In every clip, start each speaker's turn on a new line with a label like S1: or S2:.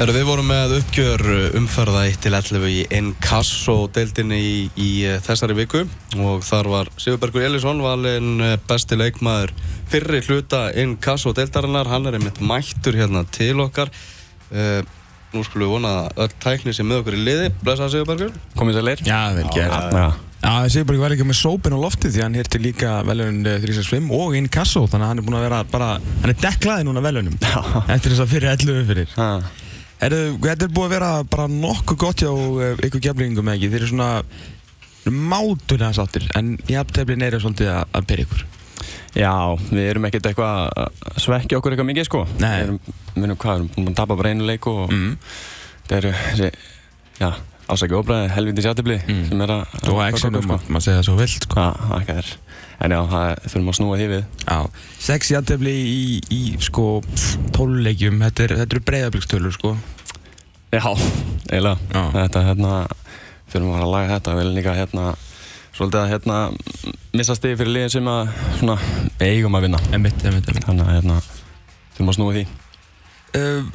S1: Herra, við vorum með uppgjör uh, umferða 1 til 11 í Inkasso deildinni í, í uh, þessari viku og þar var Sigurbergur Elísson valinn uh, besti leikmaður fyrri hluta Inkasso deildarinnar hann er einmitt mættur hérna til okkar uh, nú skulum við vona að öll tækni sem með okkur í liði blessa Sigurbergur
S2: Komið það leir?
S3: Já, vel gert.
S2: Já.
S3: Já, Sigurberg var líka með sópin á lofti því að hann hirti líka velun 365 og inn kassó þannig að hann er búin að vera bara, hann er deklaði núna velunum eftir þess að fyrir 11 fyrir.
S2: Ha.
S3: Er, þetta er búið að vera bara nokkuð gott hjá eh, ykkur geflingum ekki, þeir eru svona mátulega sáttir en jafnteflin er svolítið að, að byrja ykkur.
S2: Já, við erum ekkert eitthvað að svekkja okkur eitthvað mikið sko
S3: Nei. Mm.
S2: Við erum, við erum hvað, við erum búin að tapa bara einu leik og það eru þessi, já, ásækja óbræði, helviti sjáttifli
S3: Mm.
S2: sem er að
S3: Þú um
S2: að-
S3: að exinu,
S2: að- sko.
S3: maður segja það svo vilt sko.
S2: Já, það er, en já, það er- þurfum að snúa því við
S3: Já, sex jafntefli í, í sko tóluleikjum, þetta er- þetta eru breiðablikkstölur sko.
S2: Já, eiginlega
S3: Já.
S2: Þetta, hérna, þurfum að fara að laga þetta Við erum líka, hérna, svolítið að, hérna, missa stið fyrir liðin sem að, svona, eigum að vinna
S3: Emitt, emitt, emitt.
S2: Þannig að, hérna, þurfum að snúa því
S3: uh,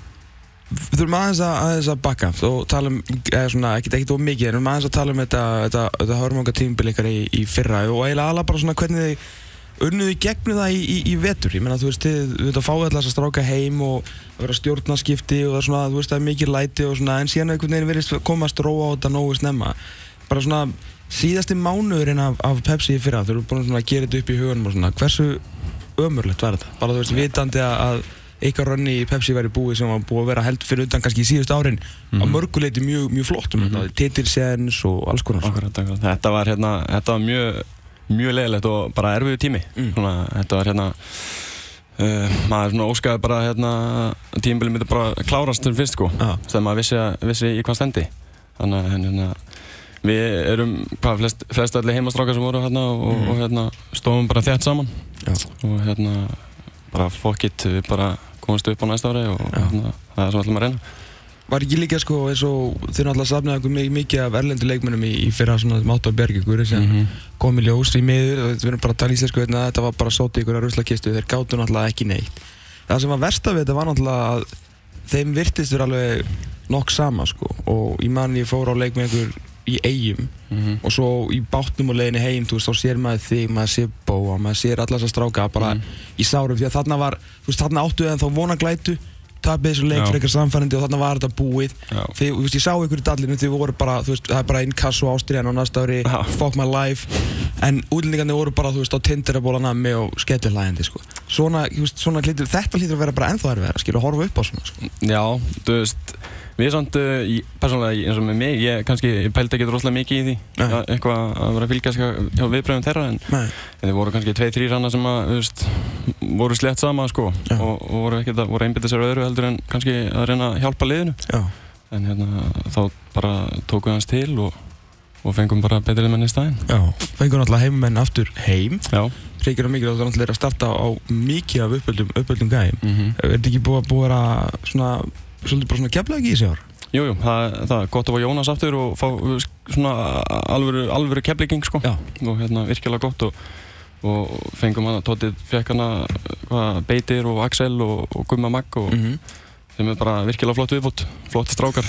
S3: við þurfum aðeins að, aðeins að bakka og tala um, eða svona, ekkert ekkert of mikið en við þurfum aðeins að tala um þetta, þetta, þetta hörmunga tímbil ykkar í, í fyrra og eiginlega alveg bara svona hvernig þið unnuðu í gegnum það í, í, í vetur ég meina þú veist, þið við þetta fáið alltaf að stráka heim og að vera stjórnarskipti og það er svona, þú veist, það er mikið læti og svona en síðan einhvern veginn verið komast róa á þetta nógu snemma bara svona síðasti mánuðurinn af, af Pepsi í fyrra þau eru búin svona að gera þetta upp í hugunum og svona hversu ömurlegt var þetta bara þú veist, vitandi að- að ykkar rönni í Pepsi væri búið sem var búið að vera held fyrir undan kannski í síðust árin mm -hmm.
S2: Mhm.
S3: að mörguleiti mjög, mjög flott um mm -hmm. titilsens og alls konar
S2: Akkurat, akkurat. Þetta var hérna, þetta var mjög mjög leiðilegt og bara erfiðu tími
S3: Mm.
S2: svona, þetta var hérna uh, maður svona óskaði bara hérna tímbilið myndi bara klárast til fyrst sko
S3: Já.
S2: þegar maður vissi, að- vissi í hvað stendi þannig að hérna við erum hvað flest, flest allir heimastrákar sem voru hérna og, og hérna stóðum bara þétt saman
S3: Mm. Já.
S2: og hérna bara fuck it við bara komumst upp á næsta ári og
S3: Já.
S2: hérna, það er sem við ætlum að reyna
S3: var ekki líka sko eins og þeir náttúrulega safnaði okkur mi- mikið af erlendu leikmennum í, í fyrra svona mátt og berg ykkur
S2: Mhm.
S3: sem kom í ljós í miður og við erum bara að tala í sér sko hérna, þetta var bara sóti ykkur að ruslakistu þeir gátu náttúrulega ekki neitt það sem var versta við þetta var náttúrulega að þeim virtist verið alveg nokk sama sko og ég man ég fór á leik með ykkur í eigum
S2: Mhm.
S3: og svo í bátnum og leiðinni heim þú veist, þá sér maður þig, maður sér Bóa maður sér alla þess að stráka bara
S2: Mm.
S3: í sárum því að þarna var, þú veist, þarna áttu eða þá vonaglætu tapið þessu
S2: Já.
S3: leik fyrir eitthvað samfærandi og þarna var þetta búið
S2: Já.
S3: því, þú veist, ég sá ykkur í dallinu því voru bara, þú veist, það er bara innkass og ástriðan á næsta ári,
S2: Já.
S3: fuck my life en útlendingarnir voru bara, þú veist, á tindirabólan að mig og skellilægandi, sko svona, þú veist, svona hlýtur, þetta hlýtur að vera bara ennþá erfiðara, skilur, að horfa upp á svona, sko
S2: Já, þú veist, við samt, uh, ég- persónulega eins og með mig, ég kannski, ég pældi ekkert rosalega mikið í því,
S3: Nei.
S2: að, eitthvað að vera að fylgjast hjá- hjá viðbröðum þeirra, en
S3: Nei.
S2: en þið voru kannski tvei, þrýr hana sem að, þú veist, voru slett sama, sko,
S3: Já.
S2: og, og voru ekkert að, voru einbyttið sér öðru heldur en kannski að reyna að hjálpa liðinu,
S3: Já.
S2: en hérna, þá bara tókum við hans til og, og fengum bara betri menn í staðinn.
S3: Já, fengur náttúrulega heimamenn aftur heim
S2: Já.
S3: Reykjavík og mikilvægt náttúrulega er að starta á mikið af uppöldum, uppöldum gæm Er þetta ekki búið að búið að svona, svolítið bara svona kefla ekki í sig ár?
S2: Jú, jú, það, það er gott að fá Jónas aftur og fá uh, sk- svona alvöru, alvöru keflíking sko
S3: Já.
S2: og hérna virkilega gott og, og fengum hana, Tóti fekk hana uh, hvað, Beitir og Axel og, og Gumma Magg og,
S3: -hmm.
S2: sem er bara virkilega flott viðbútt, flott strákar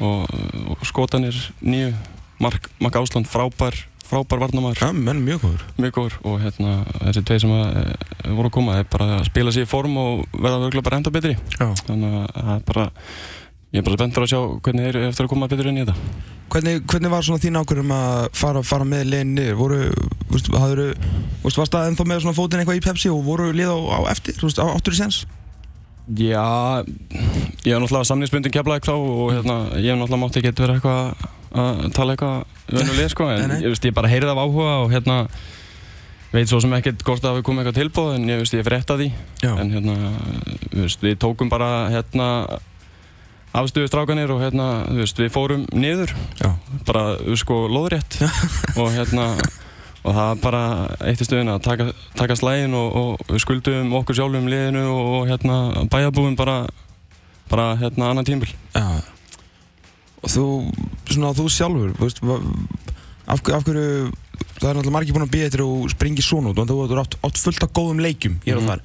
S2: og, uh, og skotanir nýju, Mark, Mark Ásland frábær, frábær varnamæður,
S3: Já, menn er mjög góður
S2: mjög góður og hérna þessi tvei sem að, e, voru að koma er bara að spila sér í form og verða virkilega bara enda betri
S3: Já.
S2: þannig að það er bara ég er bara spenntur að sjá hvernig þeir eru eftir að koma betur inn í þetta
S3: Hvernig, hvernig var svona þín ákvörðum að fara, fara með liðin niður? Voru, veist, hafðuru, veist, varst það ennþá með svona fótinn eitthvað í Pepsi og voru lið á, á eftir, þú veist, á áttur í sens?
S2: Já, ég hef náttúrulega samningsbundin keflaði þá og hérna, ég hef náttúrulega mátti ekki vera eitthvað að tala eitthvað önuleg sko,
S3: Nei,
S2: en
S3: nei.
S2: ég veist, ég bara heyrið af áhuga og hérna veit svo sem ekkert hvort að við komum eitthvað tilbúð en ég veist, ég frétta því
S3: Já,
S2: en hérna, þú veist, við tókum bara hérna afstöðu strákanir og hérna, þú veist, við fórum niður,
S3: Já.
S2: bara, þú veist, sko, loðrétt og hérna og það var bara eitt í stöðuna að taka, taka slægin og, og við skuldum okkur sjálfum liðinu og, og hérna bæjarbúum bara, bara hérna annan tímbil
S3: já Og þú, svona þú sjálfur, þú veist, va- af, hver- af hverju, þú það er náttúrulega margir búin að býja eftir og springi svona út og þú átt, átt fullt af góðum leikjum hér og þar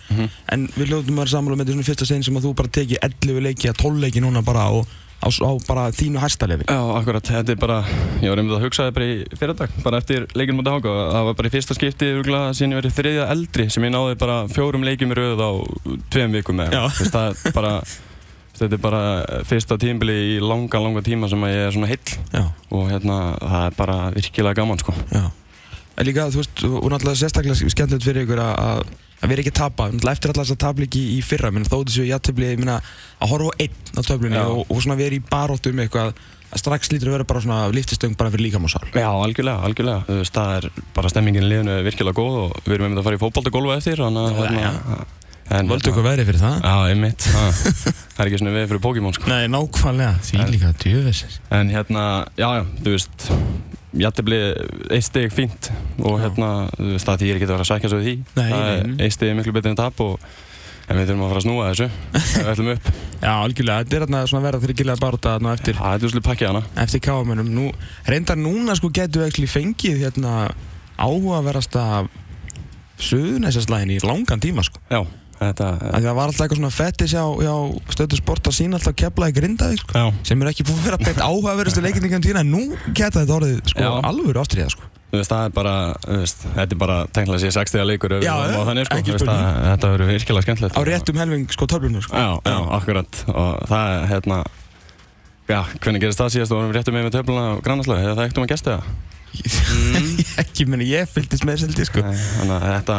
S3: en við ljóðum að sammála með þetta svona fyrsta sen sem að þú bara tekið 11 leiki að 12 leiki núna bara og á, á bara þínu hæstalefi
S2: Já, akkurat, þetta er bara, ég var einmitt að hugsa það bara í fyrirdag, bara eftir leikinn mútið háka, það var bara í fyrsta skipti, örgulega, síðan ég verið þriðja eldri sem ég náði bara fjórum leikjum í röð á tveim vikum eða,
S3: Já.
S2: eitthvað. þú veist, það er bara, þetta er bara fyrsta tímbili í langa, langa tíma sem að ég er svona heill
S3: Já,
S2: og hérna, það er bara virkilega gaman, sko.
S3: já En líka þú veist, og náttúrulega sérstaklega skemmtilegt fyrir ykkur að- að að vera ekki að tapa, náttúrulega eftir alltaf þess að taplíki í fyrra, minn, þó þessu játtöfli, ég minna að horfa á einn á töflunni
S2: Já.
S3: og, og svona vera í baróttu um eitthvað að strax lítur að vera bara svona liftistöng bara fyrir líkamásál.
S2: Já, algjörlega, algjörlega, þú veist, það er bara stemmingin í liðinu er virkilega góð og við erum einmitt að fara í fótbaldagólfa eftir, þannig að, hérna-
S3: Já, já.
S2: en, hérna-
S3: Völdu ykkur verið fyrir það?
S2: Já, einmitt, það það er ekki svona veið fyrir Pokémon, sko.
S3: Nei, nákvæmlega, því líka djöfis
S2: En hérna, já, já, þú veist Jættibli, eitt stig fínt og
S3: Já.
S2: hérna, þú veist það því ég er ekki að vera að sækja svo því
S3: Nei,
S2: Það er-
S3: nei, nei.
S2: Eitt stig er miklu betur en tap og en við þurfum að fara að snúa þessu ef við ætlum upp
S3: Já, algjörlega, þetta er þarna svona verða þryggilega baróta þarna á eftir,
S2: Það er þú slið pakkið hana
S3: eftir káamennum Nú, reyndar núna sko getum við ekki fengið hérna áhugaverasta suðunæsaslæðin í langan tíma sko
S2: Já, þetta
S3: Af því Það var alltaf eitthvað svona fettis hjá, hjá stöðu sport að sína alltaf kepla í grindaði sko
S2: Já.
S3: sem er ekki búið að vera beitt áhugaverðustu leikinni um tína, nú geta þetta orðið sko
S2: Já.
S3: alvöru ástriða sko
S2: Þú veist, það er bara, þú veist, þetta er bara tengla sér 60 leikur ef við
S3: Já,
S2: varum á þannig, sko,
S3: ekki
S2: Þú veist,
S3: spurning.
S2: það- Þetta verður virkilega skemmtilegt
S3: á réttum helving sko töflunum sko
S2: Já, já, akkurat og það er, hérna Já, hvernig gerist það síðast og vorum við réttum með með töfluna og grannarslögu, hefur það ekkert um að gesta það?
S1: Mm,
S3: ekki, meni, ég fylgdist með seldi sko
S2: Nei, Þannig að þetta,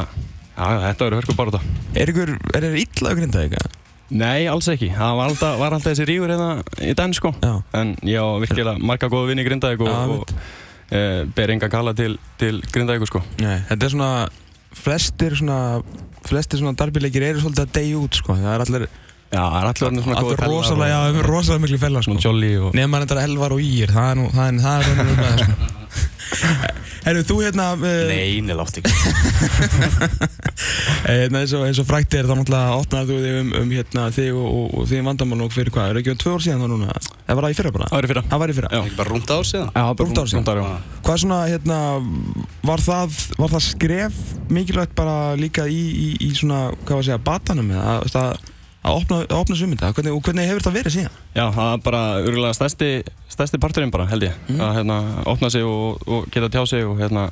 S2: já, já, þetta verður hörku bara
S3: er ykkur, er ykkur illa á grindaði
S2: Nei, alls ekki. Það var alltaf, var alltaf þessi rífur hérna í den sko.
S3: Já,
S2: En ég á virkilega marga góða vini í Grindavík Sko, og,
S3: Já,
S2: og e, ber enga kalla til, til Grindavík sko.
S3: Nei, þetta er svona flestir svona flestir svona darbileikir eru svolítið að deyja út sko. það er allir,
S2: Já, það er allir orðin svona
S3: allir
S2: góða
S3: rosalega, já,
S2: og,
S3: allir rosalega miklu fellar sko.
S2: svona jolly og...
S3: nema þetta elvar og ír það er nú, það er, það er raunum um það sko. Herru, þú hérna eh,
S1: Nei, neða átt ekki
S3: hérna, eins og, eins og frækt er þá náttúrulega opnaði þú þig um, um hérna, þig og, og, og þig vandamál og fyrir hvað, er ekki um tvö ár síðan þá núna það var það í fyrra bara,
S2: Það verður fyrir.
S3: það var í fyrra
S2: Já.
S1: Ekki bara rúmt ár síðan
S2: Já,
S3: Rúmt ár síðan.
S2: Rúndar, já.
S1: Já.
S3: Hvað er svona, hérna, var það, var það skref mikilvægt bara líka í, í, í svona, hvað var að segja, batanum eða að, að, að opna, að opna sumita hvernig, og hvernig hefur það verið síðan?
S2: Já, það er bara örgulega stærsti, stærsti parturinn bara, held ég.
S3: Mm.
S2: Að hérna, opna sig og, og geta tjá sig og hérna,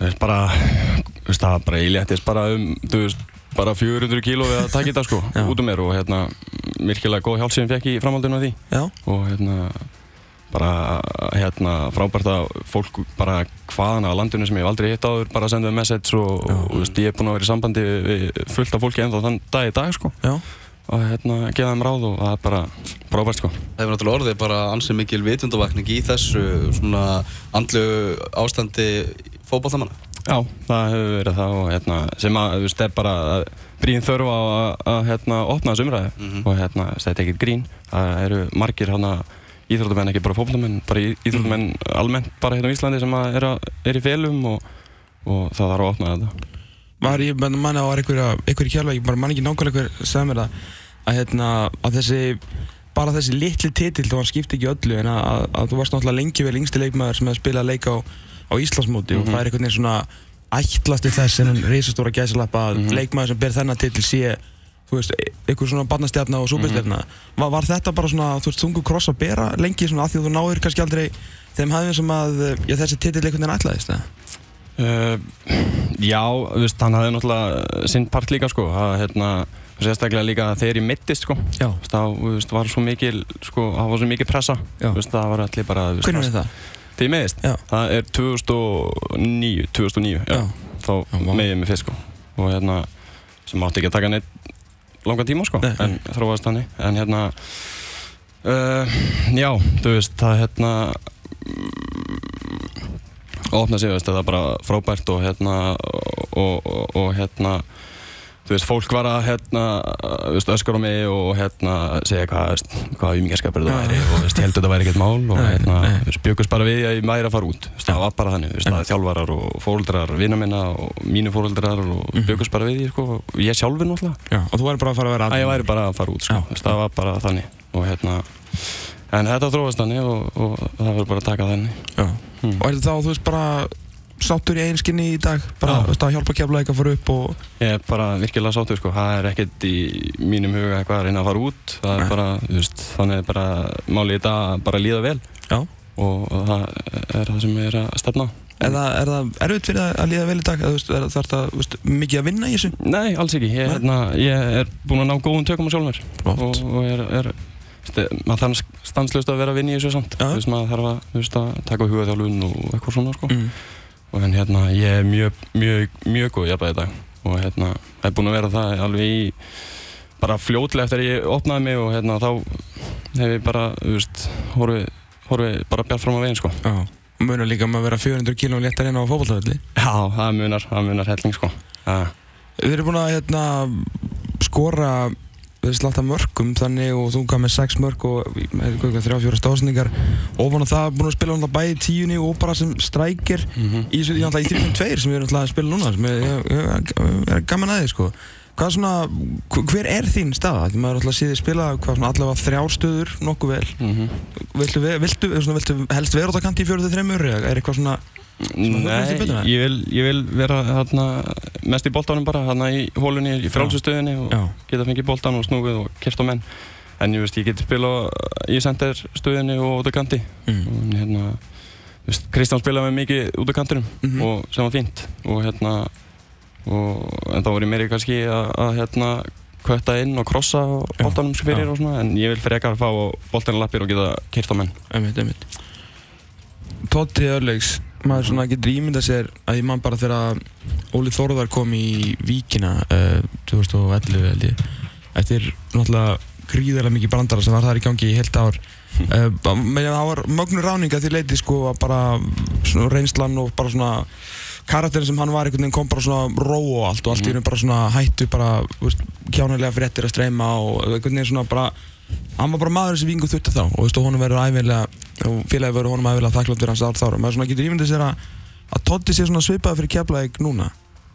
S2: þú veist, bara, þú veist, það bara, ég léttist bara um, þú veist, bara 400 kíló við að taka í dag sko,
S3: Já.
S2: út um mér og hérna, virkilega góð hjálp sem ég fekk í framhaldinu af því.
S3: Já,
S2: og hérna bara hérna frábært að fólk bara hvaðan að landinu sem ég hef aldrei hitt áður bara senda um message og,
S3: Já.
S2: og þú veist, ég er búinn að vera í sambandi við- við fullt af fólki ennþá þann dag í dag sko
S3: já,
S2: og hérna gefa þeim ráð og það er bara frábært sko
S1: Það hefur náttúrulega orðið bara ansið mikil vitundavakning í þessu svona andlu ástandi fótballamanna.
S2: Já, það hefur verið það og hérna sem að þú veist er bara að brín þörf á að, að hérna opna þessu umræðu
S1: Mhm.
S2: og hérna þú veist, þetta er ekkert grín það eru margir hérna íþróttumenn ekki bara fótboltamenn, bara í- íþróttumenn almennt bara hérna á Íslandi sem að er, að, er í felum og, og það þarf að opna þetta
S3: var ég bara manna var einhver, einhver í kjærlega, ég bara man ekki nákvæmlega hver sagði mér það, að hérna, að þessi bara þessi litli titill þó hann skipti ekki öllu en að, að, að þú varst náttúrulega lengi vel yngsti leikmaður sem hefði spilað leik á, á Íslandsmóti
S2: Mhm.
S3: og það er einhvern veginn svona ætlast til þess en risastóra gæsalappa að
S2: Mhm.
S3: leikmaður sem ber þennan titill sé þú veist, e- einhver svona barnastjarna og súpistjarna
S2: Mhm.
S3: var, var þetta bara svona, þú veist, þungu kross að bera lengi svona að því að þú náður kannski aldrei þeim hafðum sem að, já, þessi titill einhvern veginn ætlaðist, eða?
S2: Uh, já, þú veist, hann hafði náttúrulega sinn part líka sko að, hérna, sérstaklega líka þegar ég mittist sko
S3: Já,
S2: Þú veist, þá þú veist, var svo mikil sko, það var svo mikil pressa
S3: Já.
S2: Þú veist, það var allir bara þú veist,
S3: hvernig er það?
S2: Þegar ég meðist?
S3: Já.
S2: Það er 2009, 2009, já. Þá
S3: Já, vá.
S2: meðið mig fyrst, sko. Og hérna, sem átti ekki að taka neitt langan tíma, sko.
S3: Nei,
S2: en þróaðist þannig. En hérna, uh, já, þú veist, það hérna, mm, opna sig, þú veist, það er bara frábært og hérna, og, og, og hérna, þú veist, fólk var að hérna, þú veist, öskar á mig og hérna, segja hvað, þú veist, hvað umingjarskapur
S3: Já.
S2: það væri og þú veist, heldur þetta væri ekkert mál og
S3: Nei,
S2: hérna,
S3: nei.
S2: þú veist, bjökust bara við að ég væri að fara út, þú veist, það var bara þannig, þú veist, það er þjálfarar og fóreldrar, vinna minna og mínu fóreldrar og
S3: Mhm.
S2: bjökust bara við, því, sko, og ég sjálfur náttúrulega,
S3: Já, og þú væri bara að fara að vera
S2: að ég væri bara að fara út, sko,
S3: Já.
S2: þú veist, það var bara þannig og hérna, en þetta þróast þannig og, og það verður bara að taka þannig.
S3: Já.
S2: Hmm.
S3: Og er þetta þá, þú veist, bara sáttur í einskinni í dag bara
S2: Já.
S3: þú veist, að hjálpa keflaðið að fara upp og
S2: Ég er bara virkilega sáttur sko, það er ekkert í mínum huga eitthvað að reyna að fara út, það
S3: Nei.
S2: er bara, þú veist, þannig er bara málið í dag að bara líða vel
S3: Já.
S2: og það er það sem ég er að stefna. á.
S3: er það, er það erfitt fyrir þig að líða vel í dag eða þú veist, er- þarf það þú veist, mikið að vinna í þessu
S2: Nei, alls ekki, ég,
S3: Nei.
S2: hérna, ég er búinn að ná góðum tökum á sjálfum mér og,
S3: Flott.
S2: og ég er, er sti, maður þarf stanslust að vera að vinna í þessu samt,
S3: Já.
S2: þú veist, maður þarf að, þú veist, að taka huga þjálfun og eitthvað svona sko.
S3: Mm.
S2: og en hérna ég er mjög, mjög, mjög góð jafnvæg í dag og hérna það er búin að vera það alveg í bara fljótlega eftir að ég opnaði mig og hérna þá hef ég bara, þú veist, horfið horfið bara bjart fram á veginn sko
S3: Já. Munar líka um að vera 400 kílum léttar inn á fótballtafli
S2: Já, það munar, það munar helling sko Já,
S3: Við erum búin að hérna, skora við slátt af mörgum þannig og þú gaf með 6 mörg og þrjá-fjóra stásningar ofan á það búin að spila náttúrulega bæði í tíunni og bara sem strækir
S2: mm
S3: í þessu náttúrulega í 3.2 sem við erum náttúrulega að spila núna sem er, er, er gaman að þið sko hvað svona, hv- hver er þín staða? Því maður er alltaf síðið spila hvað svona allavega þrjár stöður nokkuð vel
S2: Mhm.
S3: viltu, ve- viltu, svona, viltu helst vera út á kanti í 43 eða er eitthvað svona þú finnst þér
S2: Nei,
S3: betur það?
S2: ég vil, ég vil vera hérna mest í boltanum bara, hérna í hólunni í frálsustöðinni og
S3: já,
S2: geta fengið boltan og snúið og kert á menn en ég veist, ég get spila í senderstöðinni og út á kanti
S3: mm.
S2: og hérna þú veist, Kristján spilaði mig mikið út á kantinum
S3: Mhm.
S2: og sem var fínt og hérna og, en þá voru meiri kannski að, að hérna kvötta inn og krossa og
S3: Já,
S2: boltanum sem fyrir
S3: já.
S2: og svona en ég vil frekar fá boltanum lappir og geta kyrt á menn
S3: einmitt, einmitt Totti Örlegs maður svona getur ímynda sér að ég man bara þegar Óli Þórðar kom í Víkina uh, 2011 held ég eftir náttúrulega gríðarlega mikið brandara sem var þar í gangi í heilt ár uh, menn það var mögnur ráninga því leiti sko að bara svona, reynslan og bara svona karakterin sem hann var einhvern veginn kom bara svona ró og allt og allt í hennu bara svona hættu bara þú veist, kjánulega fréttir að streyma og einhvern veginn svona bara hann var bara maður sem vingu þurfti þá og þú veist og honum verður æfilega og félagi verður honum æfilega þakklátt fyrir hans ár þára maður svona getur ímyndið sér að að Totti sé svona svipaði fyrir keflaðið núna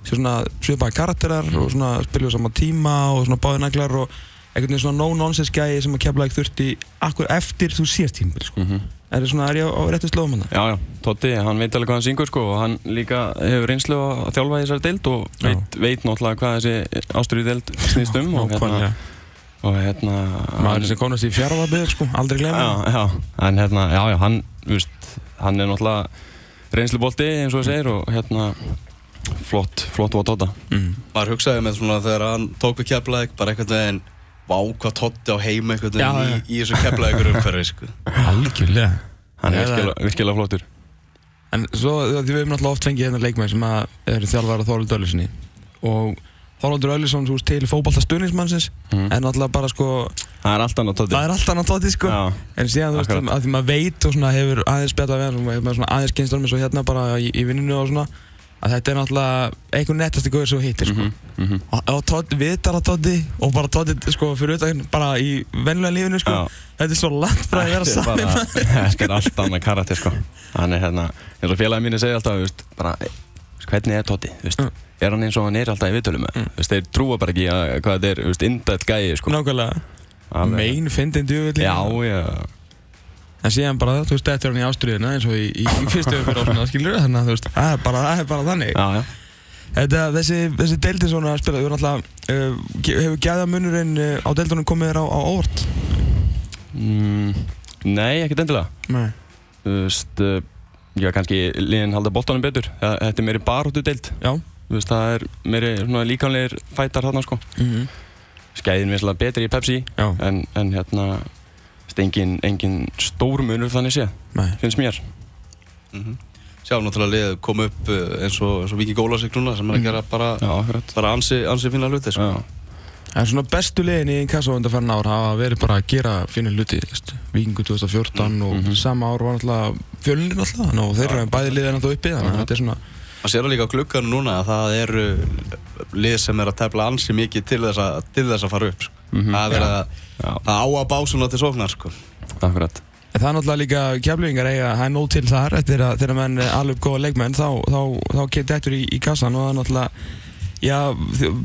S3: sé svona svipaði
S2: Mm.
S3: karakterar og svona spiljuð saman tíma og svona báði naglar og einhvern veginn svona no-nonsense gæi sem að keflaðið þurfti akkur eftir þú síðast tímbil sko. er, svona, er ég á, á réttu slóðum hérna? hann
S2: Já, já, Totti, hann veit alveg hvað hann syngur sko og hann líka hefur reynslu að þjálfa í þessari deild og
S3: Já.
S2: veit, veit náttúrulega hvað þessi ástriði deild snýst um og hérna, og hérna hann-
S3: maður sem komast í fjárðabíð sko, aldrei glemja
S2: já, já, en hérna, já, já, hann, þú veist, hann er náttúrulega reynslubolti eins og það segir og hérna, flott, flott og tóta.
S3: mm.
S1: Maður hugsaði með svona þegar hann tók við keflaðið bara einhvern veginn Vá hvað Totti á heima einhvern
S3: Já,
S1: veginn
S3: já.
S1: í, í þessu keflaðið umhverfi sko.
S3: algjörlega
S2: Hann er
S3: Eða-
S2: virkilega, virkilega flottur.
S3: En svo, því við höfum náttúrulega oft fengið hérna leikmenn sem að eru þjálfar að Þorvaldur Öllusinni og Þorvaldur Öllusson, þú veist, til fótballta stuðnismannsins
S2: Mm.
S3: en náttúrulega bara sko,
S2: Það er allt annað tóti.
S3: það er allt annað tóti sko
S2: Já,
S3: en síðan þú veist,
S2: Akkurat.
S3: að því maður veit og svona hefur aðeins spjallað við hann, svona, maður svona aðeins kynstur með svo hérna bara í, í vinninu og svona að þetta er náttúrulega einhver nettasti góður sem þú hittir sko.
S2: mhm, mhm.
S3: og, og tóti, viðtala tóti og bara tóti sko fyrir utan bara í vennulega lífinu sko,
S2: Já,
S3: þetta er svo langt frá að vera
S2: þetta er
S3: saman
S2: bara- þetta er allt annað karakter, sko. Hann er hérna, eins og félagi mínu segja alltaf, þú veist, bara, eh, þú veist, hvernig er tóti, þú veist,
S3: Mm.
S2: er hann eins og hann er alltaf í viðtölum, mm.
S3: Mm.
S2: þú veist, þeir trúa bara ekki að hvað þetta er, þú veist, indætt gæi, sko.
S3: nákvæmlega,
S2: Alveg-
S3: mein fyndin djúvill
S2: Já, já,
S3: en síðan bara þú veist, þetta er hann í ástriðina eins og í, í, í fyrstu umfyrir ásuna, skilur þannig að þú veist, það er bara, það er bara þannig
S2: já, já.
S3: þetta, þessi, þessi deildi svona að spila, þú er náttúrulega uh, ge- hefur gæðamunurinn uh, á deildunum komið þér á, á óvart?
S2: Mm, Nei, ekkert endilega.
S3: Nei.
S2: þú veist, uh, já kannski liðin halda boltanum betur, Þa, þetta er meiri baróttu deild,
S3: Já.
S2: þú veist, það er meiri svona, líkanlegir fætar þarna sko, skæðin viðslega betri í Pepsi,
S3: Já.
S2: en, en hérna, þú veist, engin, engin stór munur þannig sé,
S3: Nei.
S2: finnst mér.
S1: mm Sjá náttúrulega liðið kom upp eh, eins og, eins og Viki Gólasik núna sem er að
S3: Mm.
S1: gera bara,
S2: Já, akkurat.
S1: bara ansi, ansi fína hluti sko.
S2: Mhm. Já,
S3: En svona bestu liðin í Inkasso undan færna ár hafa verið bara að gera fínu hluti, þú veist, Víkingu 2014 og
S2: Mhm.
S3: sama ár var náttúrulega fjölnir náttúrulega, ná, og þeir eru bæði liðin náttúrulega uppi, þannig að
S2: Akkurat.
S3: þetta er svona
S1: maður sér það líka á glugganum núna að það eru lið sem er að tefla ansi mikið til þess að, til þess að fara upp sko.
S2: Mhm.
S1: það, er að,
S2: já,
S1: það á að básuna til sóknar sko.
S2: akkurat.
S3: En Það er náttúrulega líka keflingar eiga það er nóg til þar eftir að þegar menn eh, ala upp góða leikmenn þá, þá, þá getur þetta í, í kassan og það er náttúrulega Já,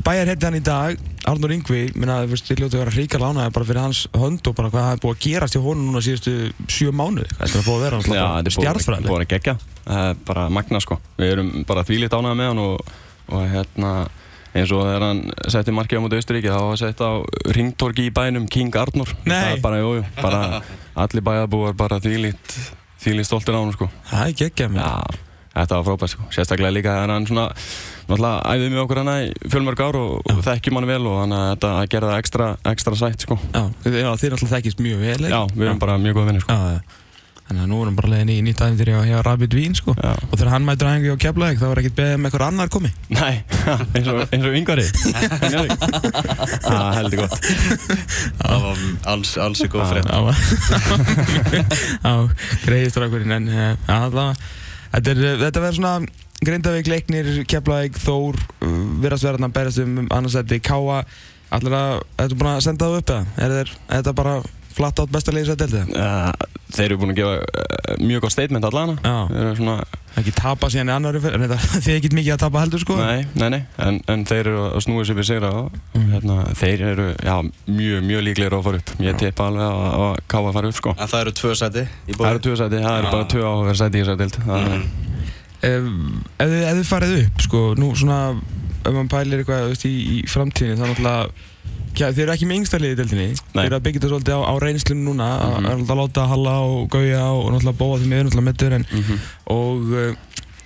S3: bæjar hefði hann í dag, Arnur Yngvi, minna, þú veist, ég hljóti að vera hríka lánaði bara fyrir hans hönd og bara hvað það er búið að gerast hjá honum núna síðustu sjö mánuði. Þetta er búið að vera hans
S2: Já, þetta er búið-
S3: stjartfræðileg.
S2: búið að gegja Það er bara magna sko Við erum bara þvílít ánægð með hann og, og hérna eins og þegar hann setti markið á móti Austuríki þá var sett á ringtorki í bænum King Arnur
S3: Nei.
S2: Það er bara, jú, jú, bara allir bæjarbúar bara þvílít þvílít stoltir á hann sko
S3: Það er geggjað mér.
S2: Já, þetta var frábært sko Sérstaklega líka þegar hann svona Náttúrulega æðið með okkur hana í fjölmörg ár og, og þekkjum hann vel og þannig að þetta að gera það ekstra, ekstra sætt sko
S3: Já, þið- já, þið náttúrulega þekkist mjög vel, ekki?
S2: Já, við erum bara mjög góð vinnir sko
S3: Já, já. Þannig að nú erum bara leiðin í nýtt æfindir hjá, hjá Rabbit Vín, sko.
S2: Já.
S3: Og þegar hann mætur æfingu hjá Keflavík, þá er ekkert beðið um eitthvað annar komi.
S2: Nei, eins og, eins og yngvari Yngvari Það heldur gott
S1: Það var alls, alls í góð frétt
S3: Já, já, greiði strákurinn, en eh, já, allavega. Þetta, er, eh, þetta verður svona Grindavík, Leiknir, Keflavík, Þór, virðast verðan að berjast um annarsætti, Káa, allir að, ertu búin að senda það upp eða? Er, er, er þetta bara flatt átt besta leiðis að delta?
S2: uh, Þeir eru búin að gefa uh, mjög gott statement allana
S3: Já,
S2: Þeir eru svona,
S3: ekki tapa síðan í annari fyrir, þið er ekkert mikið að tapa heldur sko.
S2: nei, nei, nei en, en þeir eru að snúa sér við sigra og
S3: Mm.
S2: hérna, þeir eru, já, mjög, mjög líklegir á að fara upp
S3: Já.
S2: Ég tippa alveg að, að káfa að fara upp, sko
S1: En það eru tvö sæti í
S2: Það
S1: bóði Mhm.
S2: eru tvö sæti, það eru bara tvö áhuga sæti í þessari dild Það er-
S3: Ef, ef, þið- ef þið farið upp, sko, nú svona, ef maður pælir eitthvað, þú veist, í, í framtíðinni, þá náttúrulega, ja, þið eru ekki með yngsta liðið í deltinni, þið
S2: Nei.
S3: eru að byggja þetta svolítið á, á reynslum núna, að
S2: Mhm.
S3: mm -hmm. láta Halla og Gauja og náttúrulega Bóa því miður náttúrulega mittur, en,
S2: Mhm.
S3: og, eh,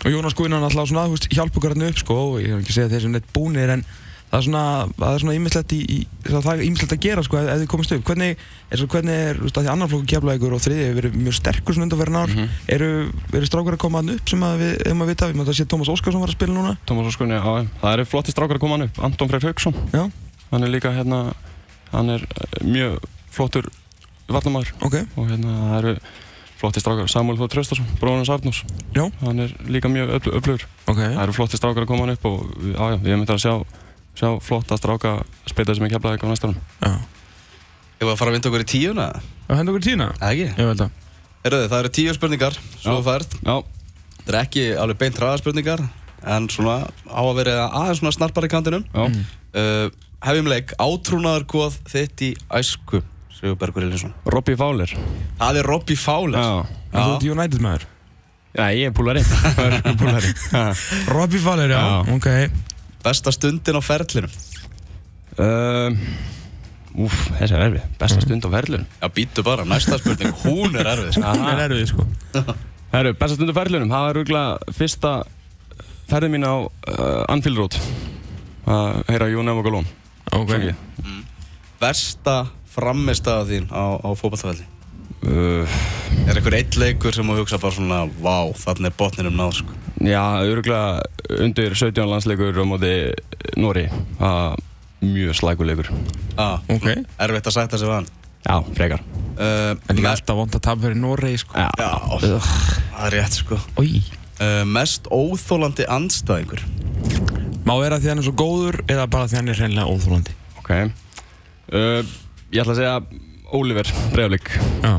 S3: og Jónas Guðina náttúrulega svona, þú veist, hjálpa okkur hérna upp, sko, og ég er ekki að segja þeir sem neitt búnir, en það er svona, það er svona ímislegt í, í það er ímislegt að gera, sko, ef, ef þið komist upp, hvernig, er, svo- hvernig er, þú veist, að því annar flokkur kefla og þriðið hefur verið mjög sterkur svona undanferðin ár,
S2: Mhm.
S3: eru, eru strákar að koma hann upp sem að við, ef maður vita, við maður að sé Tómas Óskarsson var að spila núna
S2: Tómas Óskunni, já, já. það eru flotti strákar að koma hann upp Anton Freyr Hauksson
S3: Já.
S2: Hann er líka, hérna, hann er eh, mjög flottur varnamæður
S3: ok,
S2: og hérna það eru flotti strákar Samuel Þór Tröstarsson, bróðan hans Arnús
S3: Já.
S2: hann er líka mjög öfl- öflugur
S3: ok
S2: það eru flotti strákar að koma hann upp og við- já, já, við erum eitthvað að sjá, sjá flotta stráka spita sem er keflaði eitthvað næsta árum
S3: já.
S1: Ég var að fara að vinda okkur í tíuna
S3: og hendur okkur tína?
S1: eða ekki?
S3: ég veit það
S1: Herruði, það eru tíu spurningar Svo
S2: Já.
S1: fært
S2: já,
S1: Það er ekki alveg beint hraða spurningar En svona á að vera aðeins svona snarpar í kantinum
S2: já,
S1: uh, Hefjum leik Átrúnaðar góð þitt í æsku Sigurbergur Elinsson
S2: Robby Fowler
S1: Það er Robby Fowler
S2: já,
S3: en þú ert United maður
S2: já, ég er púlari púlari
S3: Robbie Fowler, já,
S2: Já.
S3: ok
S1: Besta stundin á ferlinum
S2: um, úf, þessi er erfið besta stund á ferlun
S1: Já, býtu bara, næsta spurning, hún er erfið sko.
S3: hún er erfið, sko
S2: Herru, besta stund á ferlunum, það er rúglega fyrsta ferðin mín á uh, Anfield Road að heyra Jón Evokalón
S3: ok,
S1: Versta frammistaða þín á, á fótballtafældi
S2: uh,
S1: Er einhver eitt leikur sem þú hugsa bara svona Vá, þannig er botninum náð sko.
S2: Já, öruglega undir 17 landsleikur á móti Nóri að mjög slækuleikur
S1: ah,
S3: ok
S1: Erfitt að sætta sig við hann
S2: Já, frekar
S1: uh,
S3: en líka
S1: me-
S3: alltaf vond að tapa fyrir Noregi, sko
S2: Já,
S1: Já, það er rétt sko
S3: oi
S1: uh, Mest óþólandi andstæðingur
S3: má vera því hann er svo góður eða bara því hann er hreinlega óþólandi
S2: ok uh, Ég ætla að segja Oliver Breivlik
S3: já,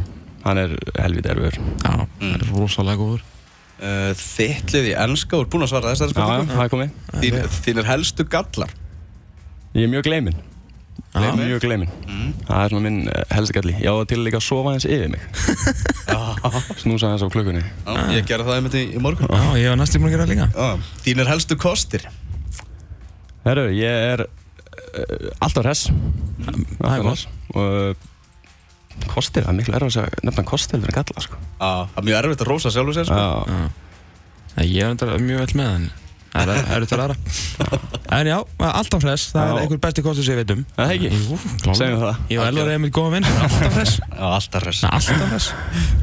S2: Hann er helviti erfur
S3: já, hann er rosalega góður
S1: uh, Þitt lið í ennska, þú er búin að svara þessari
S2: Já, já,
S1: spurningu
S2: það er komið
S1: Þín, þín er helstu gallar
S2: Ég er mjög gleyminn
S3: Já.
S2: Mjög gleyminn Það er svona minn eh, helsti galli Ég á það til líka að sofa hans yfir mig Snúsa hans á klukkunni
S1: Já, Ég gerði það einmitt í, í morgun
S3: já, ég var næstu búin að gera það líka
S1: ah, Þín er helstu kostir
S2: Herru, ég er uh, alltaf hress
S3: það er
S2: Alltaf hress Og uh, kostir, það er miklu erfur að segja nefna kostir fyrir galla sko
S1: ah, Það er mjög erfitt að rósa sjálfu sér sko.
S2: Já,
S3: Já. Nei, Ég er þetta mjög vel með hann Það er- það eru til aðra En já, alltaf fress, það er
S2: Já.
S3: einhver besti kostur sem ég veit um
S2: Er það ekki?
S3: Jú, klálega.
S2: Segjum það.
S3: Ég og Elvar erum eitt góða vinn, alltaf fress
S1: Já, alltaf res
S3: Alltaf fress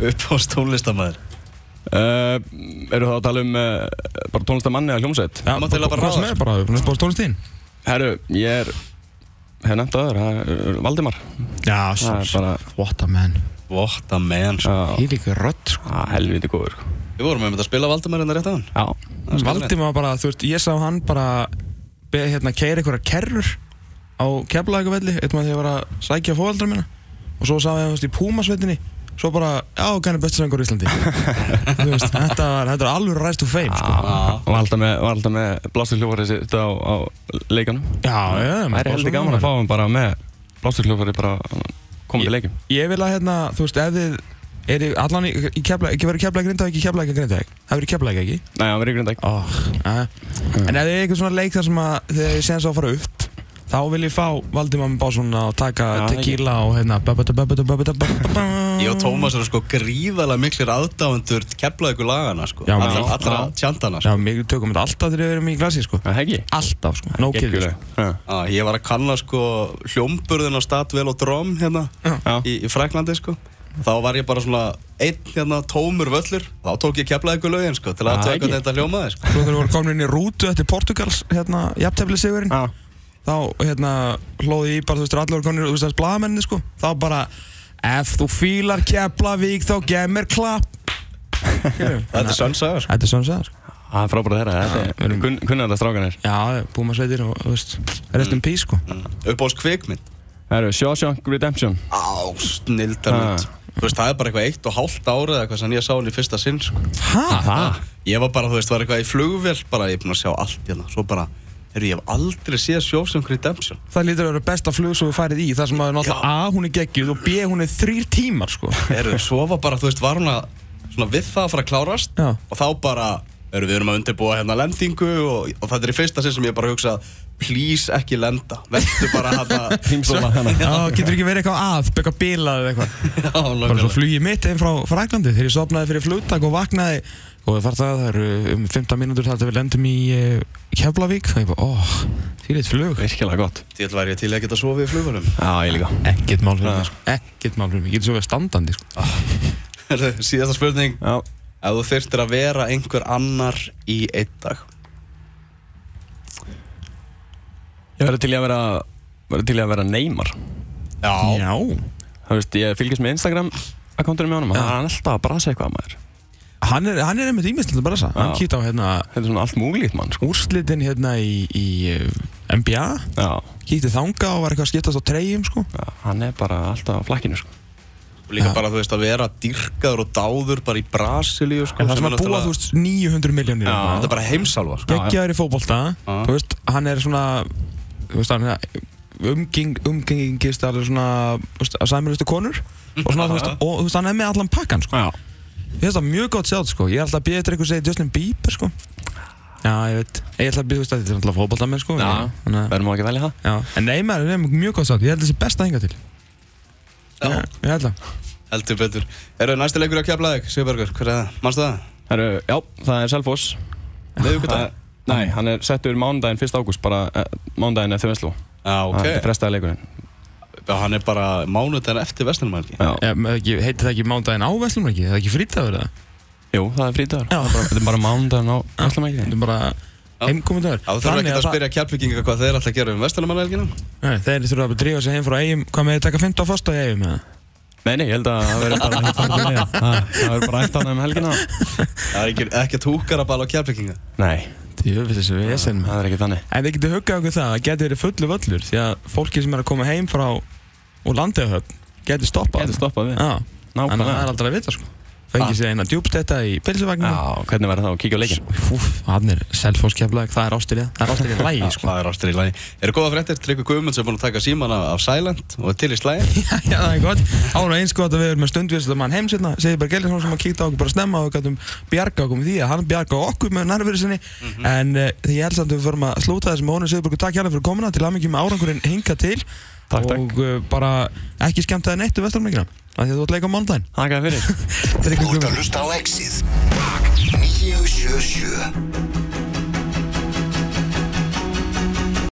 S1: Upp á stónlistamæður
S2: Uh, eru það að tala um uh, bara tónlistamanni eða hljómsveit?
S3: Já,
S1: mátt eiginlega bara
S3: hvað sem
S1: ráða,
S3: er bara, hún er bara stónlistín
S2: Herru, ég er hef nefnt aður, það er eh, Valdimar
S3: Já,
S2: Það er
S3: sjálfs
S2: bara,
S3: What a man
S1: What a man sko.
S2: já,
S3: Ég líka rödd, sko
S2: já, helviti góður sko.
S1: Við vorum einmitt að spila Valdimar en það rétt af hann
S2: Já,
S3: Valdi maður bara, þú veist, ég sá hann bara beð, hérna, keira einhverja kerrur á keflaðakavelli, eitthvað þegar ég var að sækja fóaldra minna og svo sá ég hann, þú veist, í Púmasveitinni svo bara, já, gæna böttsrangur í Íslandi Þú veist, þetta var, þetta var alveg ræst úr feim, sko
S2: Já, var alltaf með, var alltaf með blástukljófarið sitt á, á leikanum.
S3: Já, já,
S2: Það er heldur gaman að fá hann bara með blástukljófarið bara komið í leikum.
S3: Ég vil að, hérna, þú veist, ef þið eru allan í, í kefla, ekki verið kefla grinda ekki kefla ekki grinda ekki, það verið kefla ekki
S2: Nei, hann verið í dag.
S1: Ah.
S3: oh. En ef þið er eitthvað svona leik þar sem að þið er séns á að fara upp þá vil ég fá Valdimar með Básson að taka
S2: Já,
S3: tequila og hérna
S1: Ég
S3: Jó,
S1: og Tómas eru sko gríðalega miklir aðdáendur keflaðu ykkur lagana sko
S3: Já,
S1: allra,
S3: já.
S1: allra
S3: Já.
S1: tjandana
S3: Já,
S1: sko.
S3: við tökum þetta alltaf þegar við erum í glasi, sko
S2: Það er ekki.
S3: Alltaf, sko, no kill sko.
S2: Já.
S1: Já, Ég var að kanna sko hljómburðin á Statvel og Drom hérna
S2: Já.
S1: í, í Fraklandi sko þá var ég bara svona einn hérna tómur völlur þá tók ég keflaðu ykkur lögin sko til
S2: Ah,
S1: að taka
S2: ekki.
S1: hvernig þetta hljómaði sko
S3: Svo þegar við vorum komin inn í rútu eftir Portugals, hérna, jafntefli sigurinn
S2: Já.
S3: Þá, hérna, hlóði ég bara, þú veist, allir voru komin inn, þú veist, þess blaðamenni, sko Þá bara, ef þú fílar Keflavík, þá gef mér klapp Skilurðu?
S1: Þetta er sönnsaga sko
S3: Þetta er svona sæðar, sko
S2: Það er frábæra þeirra, þetta er
S3: verðum-
S2: kun- kunna þetta strákanir.
S3: Já, búið maður sveitir og, þú veist, rest in peace, sko
S1: upp á skvikmynd
S2: Það eru Shawshank Redemption.
S1: Á, snildarmynd Þú veist, það er bara eitthvað eitt og hálft árið eða eitthvað sem ég sá hann í fyrsta sinn sko
S3: Hæ?
S2: Það?
S1: Ég var bara, þú veist, var eitthvað í flugvél bara ég er búinn að sjá allt hérna Svo bara, heyrðu, ég hef aldrei séð Shawshank Redemption
S3: Það lítur að vera besta flug sem við færið í þar sem að náttúrulega A, hún er geggjuð og B, hún er þrýr tímar, sko
S1: Heyrðu, svo var bara, þú veist, var hún að svona við það að fara að klárast
S3: Já.
S1: og þá bara, heyrðu, við erum að undirbúa hérna lendingu og, og þetta er í fyrsta sinn sem ég bara hugsa please ekki lenda Vertu bara hérna
S2: Heimsóla hana.
S3: Já, getur ekki verið eitthvað að, eitthvað bilað eða eitthvað
S1: Já,
S3: bara svo
S1: nákvæmlega.
S3: flugið mitt einn frá Fraklandi þegar ég sopnaði fyrir flugtak og vaknaði og það var það, það eru um 15 mínútur þar til við lendum í eh, Keflavík og ég bara, óh, því leitt flug
S2: Virkilega gott.
S1: Ég væri ég til að geta sofið í flugvélum
S2: Já, ég líka.
S3: ekkert mál fyrir mig, sko. ekkert mál fyrir mig, ég getur svo verið standandi sko.
S1: Heyrðu, Síðasta spurning
S2: Já.
S1: Ef þú þyrftir að vera einhver annar í einn dag
S2: Ég verði til í að vera, verði til í að vera Neymar.
S1: Já,
S3: Já,
S2: Þú veist, ég fylgist með Instagram akkóntunum með honum, hann er alltaf að brasa eitthvað maður.
S3: hann er, hann er einmitt ímislega bara þess að, hann
S2: Já.
S3: kýtt á hérna
S2: Þetta er svona allt múglíkt mann, sko.
S3: úrslitin hérna í, í eh, NBA,
S2: Já,
S3: kýtti þanga og var eitthvað að skiptast á treyjum sko.
S2: já, hann er bara alltaf á flakkinu, sko.
S1: og líka
S3: Já.
S1: bara þú veist að vera dyrkaður og dáður bara í Brasilíu sko,
S3: það sem að búa þú
S1: náttúrulega-
S3: veist 900 miljónir
S2: Já.
S1: Þetta er bara heimsálfa sko.
S3: hérna. geggjaður í fótbolta
S1: Já.
S3: þú veist, hann er svona þú veist, hann er umgeng, umgengist alveg svona þú veist, að sæmilustu konur og svona, þú veist, og þú veist, hann er með allan pakkan sko.
S2: Já.
S3: ég finnst það mjög gott sjátt, sko, ég er alltaf að býða eftir eitthvað að segja Justin Bieber, sko já, ég veit, ég ætla að býða, þú veist, að þetta er alltaf fótbolta með, sko
S2: Já.
S3: þannig að
S2: Verðum á ekki að velja það?
S3: Já, en Neymar er mjög gott sátt, ég held þessi best að hinga til
S1: Já.
S3: Ég- Ég held það
S1: Heldur betur. Eru næsti leikur að kefla þig, Sigurbergur? Hver er það? Manstu það?
S2: Heru, já, það er Selfoss.
S1: Miðvikudag?
S2: Það- Nei, hann er settur mánudaginn 1. ágúst, bara eh, mánudaginn eftir Vestló.
S1: Já,
S2: Það er
S1: ok.
S2: frestaði leikurinn.
S1: Já, hann er bara mánudaginn eftir vestunumælgi.
S2: Já.
S3: Ég- með ekki- Heitir það ekki mándaginn á Vestlum ekki? Er Það ekki frítafur það?
S2: Jú, það er frítagur.
S3: Já.
S2: Þetta er bara mánudaginn á Vestló
S3: Þetta
S2: ekki.
S3: er bara heimkomundagur
S1: Já, þú þurfum ekki að spyrja keflvikinga hvað þeir ætla að gera um vestunumælgina.
S3: Nei, þeir þurfa bara að drífa sig heim frá eigum Hvað með þið taka 15 á fasta í eigum eða?
S2: Nei, nei, ég held að það verður bara hitt þarna niður. Ha, það verður bara eftir hann um helgina.
S1: Það er ekki, ekki túkar að bala á keflvikinga.
S2: Nei,
S3: Djöfis þessi vesen
S2: það
S3: maður.
S2: er ekki þannig.
S3: En þið getur huggað okkur það að getur verið fullu völlur Því að fólki sem er að koma heim frá úr landeigahöfn getur stoppað
S2: Getur stoppað við.
S3: Já, en það er
S2: Nákvæmlega.
S3: aldrei að vita sko
S1: Ah.
S3: Fengið sér eina djúbstetta í pilsuvagnu
S2: Já, hvernig verður það að kíkja á leikin?
S3: Úff, hann er selfóskeflag, það er ástilið Það er ástilið lægi sko
S1: Það er ástur í lagi. Eru góða fréttir? Tryggvi Guðmunds er búin að taka síman af, af Silent og er til í slæði.
S3: Já, já, það er gott Ára eins gott að við erum með stundvíslega mann heim sérna Segir bara Gellinsson sem að kíkta á okkur bara snemma og við gætum bjarga okkur með því að hann bjarga okkur með nærveru sinni en uh, því ég held samt að við förum að slúta þessum Ónu Sigurbergur takk hérna fyrir komuna til aðmyggjum með árangurinn hinga til
S2: Takk,
S3: og
S2: takk.
S3: Uh, bara ekki skemmta það neitt um vestarmengina af því að þú ætla að leika á mánudaginn
S2: Þakka þér fyrir.
S4: Þú ert að hlusta á Exið Rock 977